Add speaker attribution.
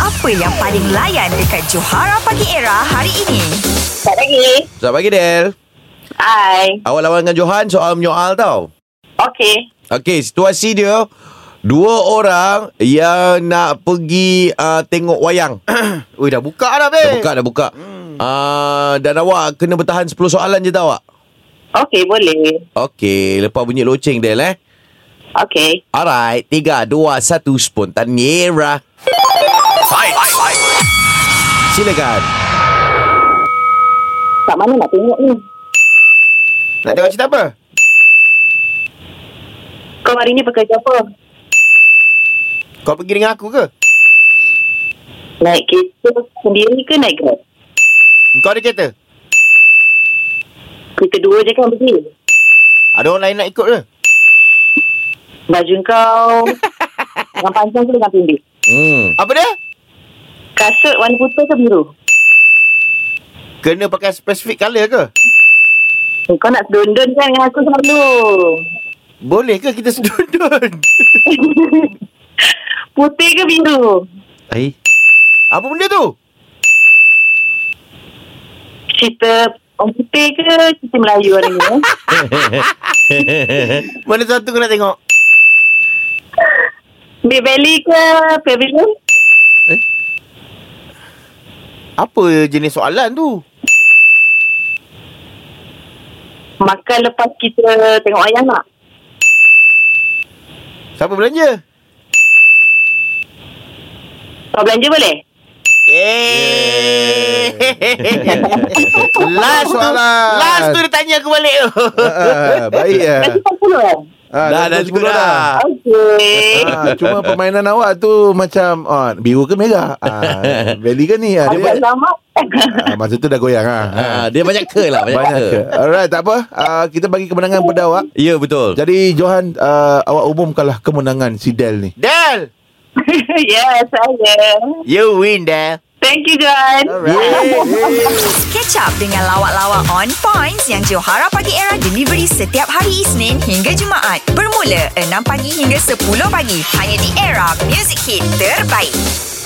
Speaker 1: Apa yang paling layan dekat Johara Pagi Era hari ini?
Speaker 2: Selamat pagi.
Speaker 3: Selamat pagi Del
Speaker 2: Hai.
Speaker 3: Awak lawan dengan Johan Soal menyoal tau
Speaker 2: Okey.
Speaker 3: Okey situasi dia Dua orang Yang nak pergi uh, Tengok wayang
Speaker 4: Ui dah buka dah Hmm. be.
Speaker 3: Dah buka dah buka uh, Dan awak kena bertahan 10 soalan je tau awak
Speaker 2: Okey, boleh.
Speaker 3: Okey Lepas bunyi loceng Del eh
Speaker 2: Okey.
Speaker 3: Alright 3, 2, 1 Spontanera Silakan
Speaker 2: Kat mana nak tengok ni?
Speaker 4: Nak tengok cerita apa?
Speaker 2: Kau hari ni bekerja apa?
Speaker 4: Kau pergi dengan aku ke?
Speaker 2: Naik kereta sendiri ke naik grab?
Speaker 4: Kau ada kereta?
Speaker 2: Kita dua je kan pergi.
Speaker 4: Ada orang lain nak ikut ke?
Speaker 2: Baju kau dengan panjang ke dengan pendek?
Speaker 3: hmm.
Speaker 4: Apa dia?
Speaker 2: Kasut warna putih ke biru?
Speaker 4: Kena pakai specific colour ke?
Speaker 2: Eh, Kau nak sedondon kan dengan aku selalu.
Speaker 4: Boleh ke kita sedundun?
Speaker 2: Putih ke biru?
Speaker 4: Hai. Apa benda tu?
Speaker 2: Cerita orang putih ke cerita Melayu hari ni? eh?
Speaker 4: Mana satu kau nak tengok?
Speaker 2: Big Valley ke Pavilion?
Speaker 4: Apa jenis soalan tu?
Speaker 2: Makan lepas kita tengok ayam nak?
Speaker 4: Siapa belanja?
Speaker 2: Kau belanja boleh?
Speaker 4: Eh. Last soalan.
Speaker 3: Oh, Last tu
Speaker 4: dia tanya aku balik.
Speaker 5: Ah, baik ya.
Speaker 2: Nanti 40 kan?
Speaker 5: Ah,
Speaker 3: Dah dah cukup dah
Speaker 2: Okey.
Speaker 5: Ah, cuma permainan awak tu macam ah, biru ke merah? Ah, Belly ke ni? Ah,
Speaker 2: Agak
Speaker 5: dia,
Speaker 2: lama.
Speaker 5: ah, masa tu dah goyang ah.
Speaker 3: Ah, Dia banyak ke lah Banyak,
Speaker 5: Banyak
Speaker 3: ke,
Speaker 5: ke? Alright, tak apa. Ah, kita bagi kemenangan pada awak.
Speaker 3: Ya betul
Speaker 5: Jadi Johan, ah, awak umumkanlah kemenangan si Del ni.
Speaker 4: Del.
Speaker 2: yes, saya.
Speaker 4: You win, Del.
Speaker 2: Thank you, John.
Speaker 1: Catch up dengan lawak-lawak on points yang Johara Pagi Era delivery setiap hari Isnin hingga Jumaat. Bermula 6 pagi hingga 10 pagi. Hanya di Era Music Hit Terbaik.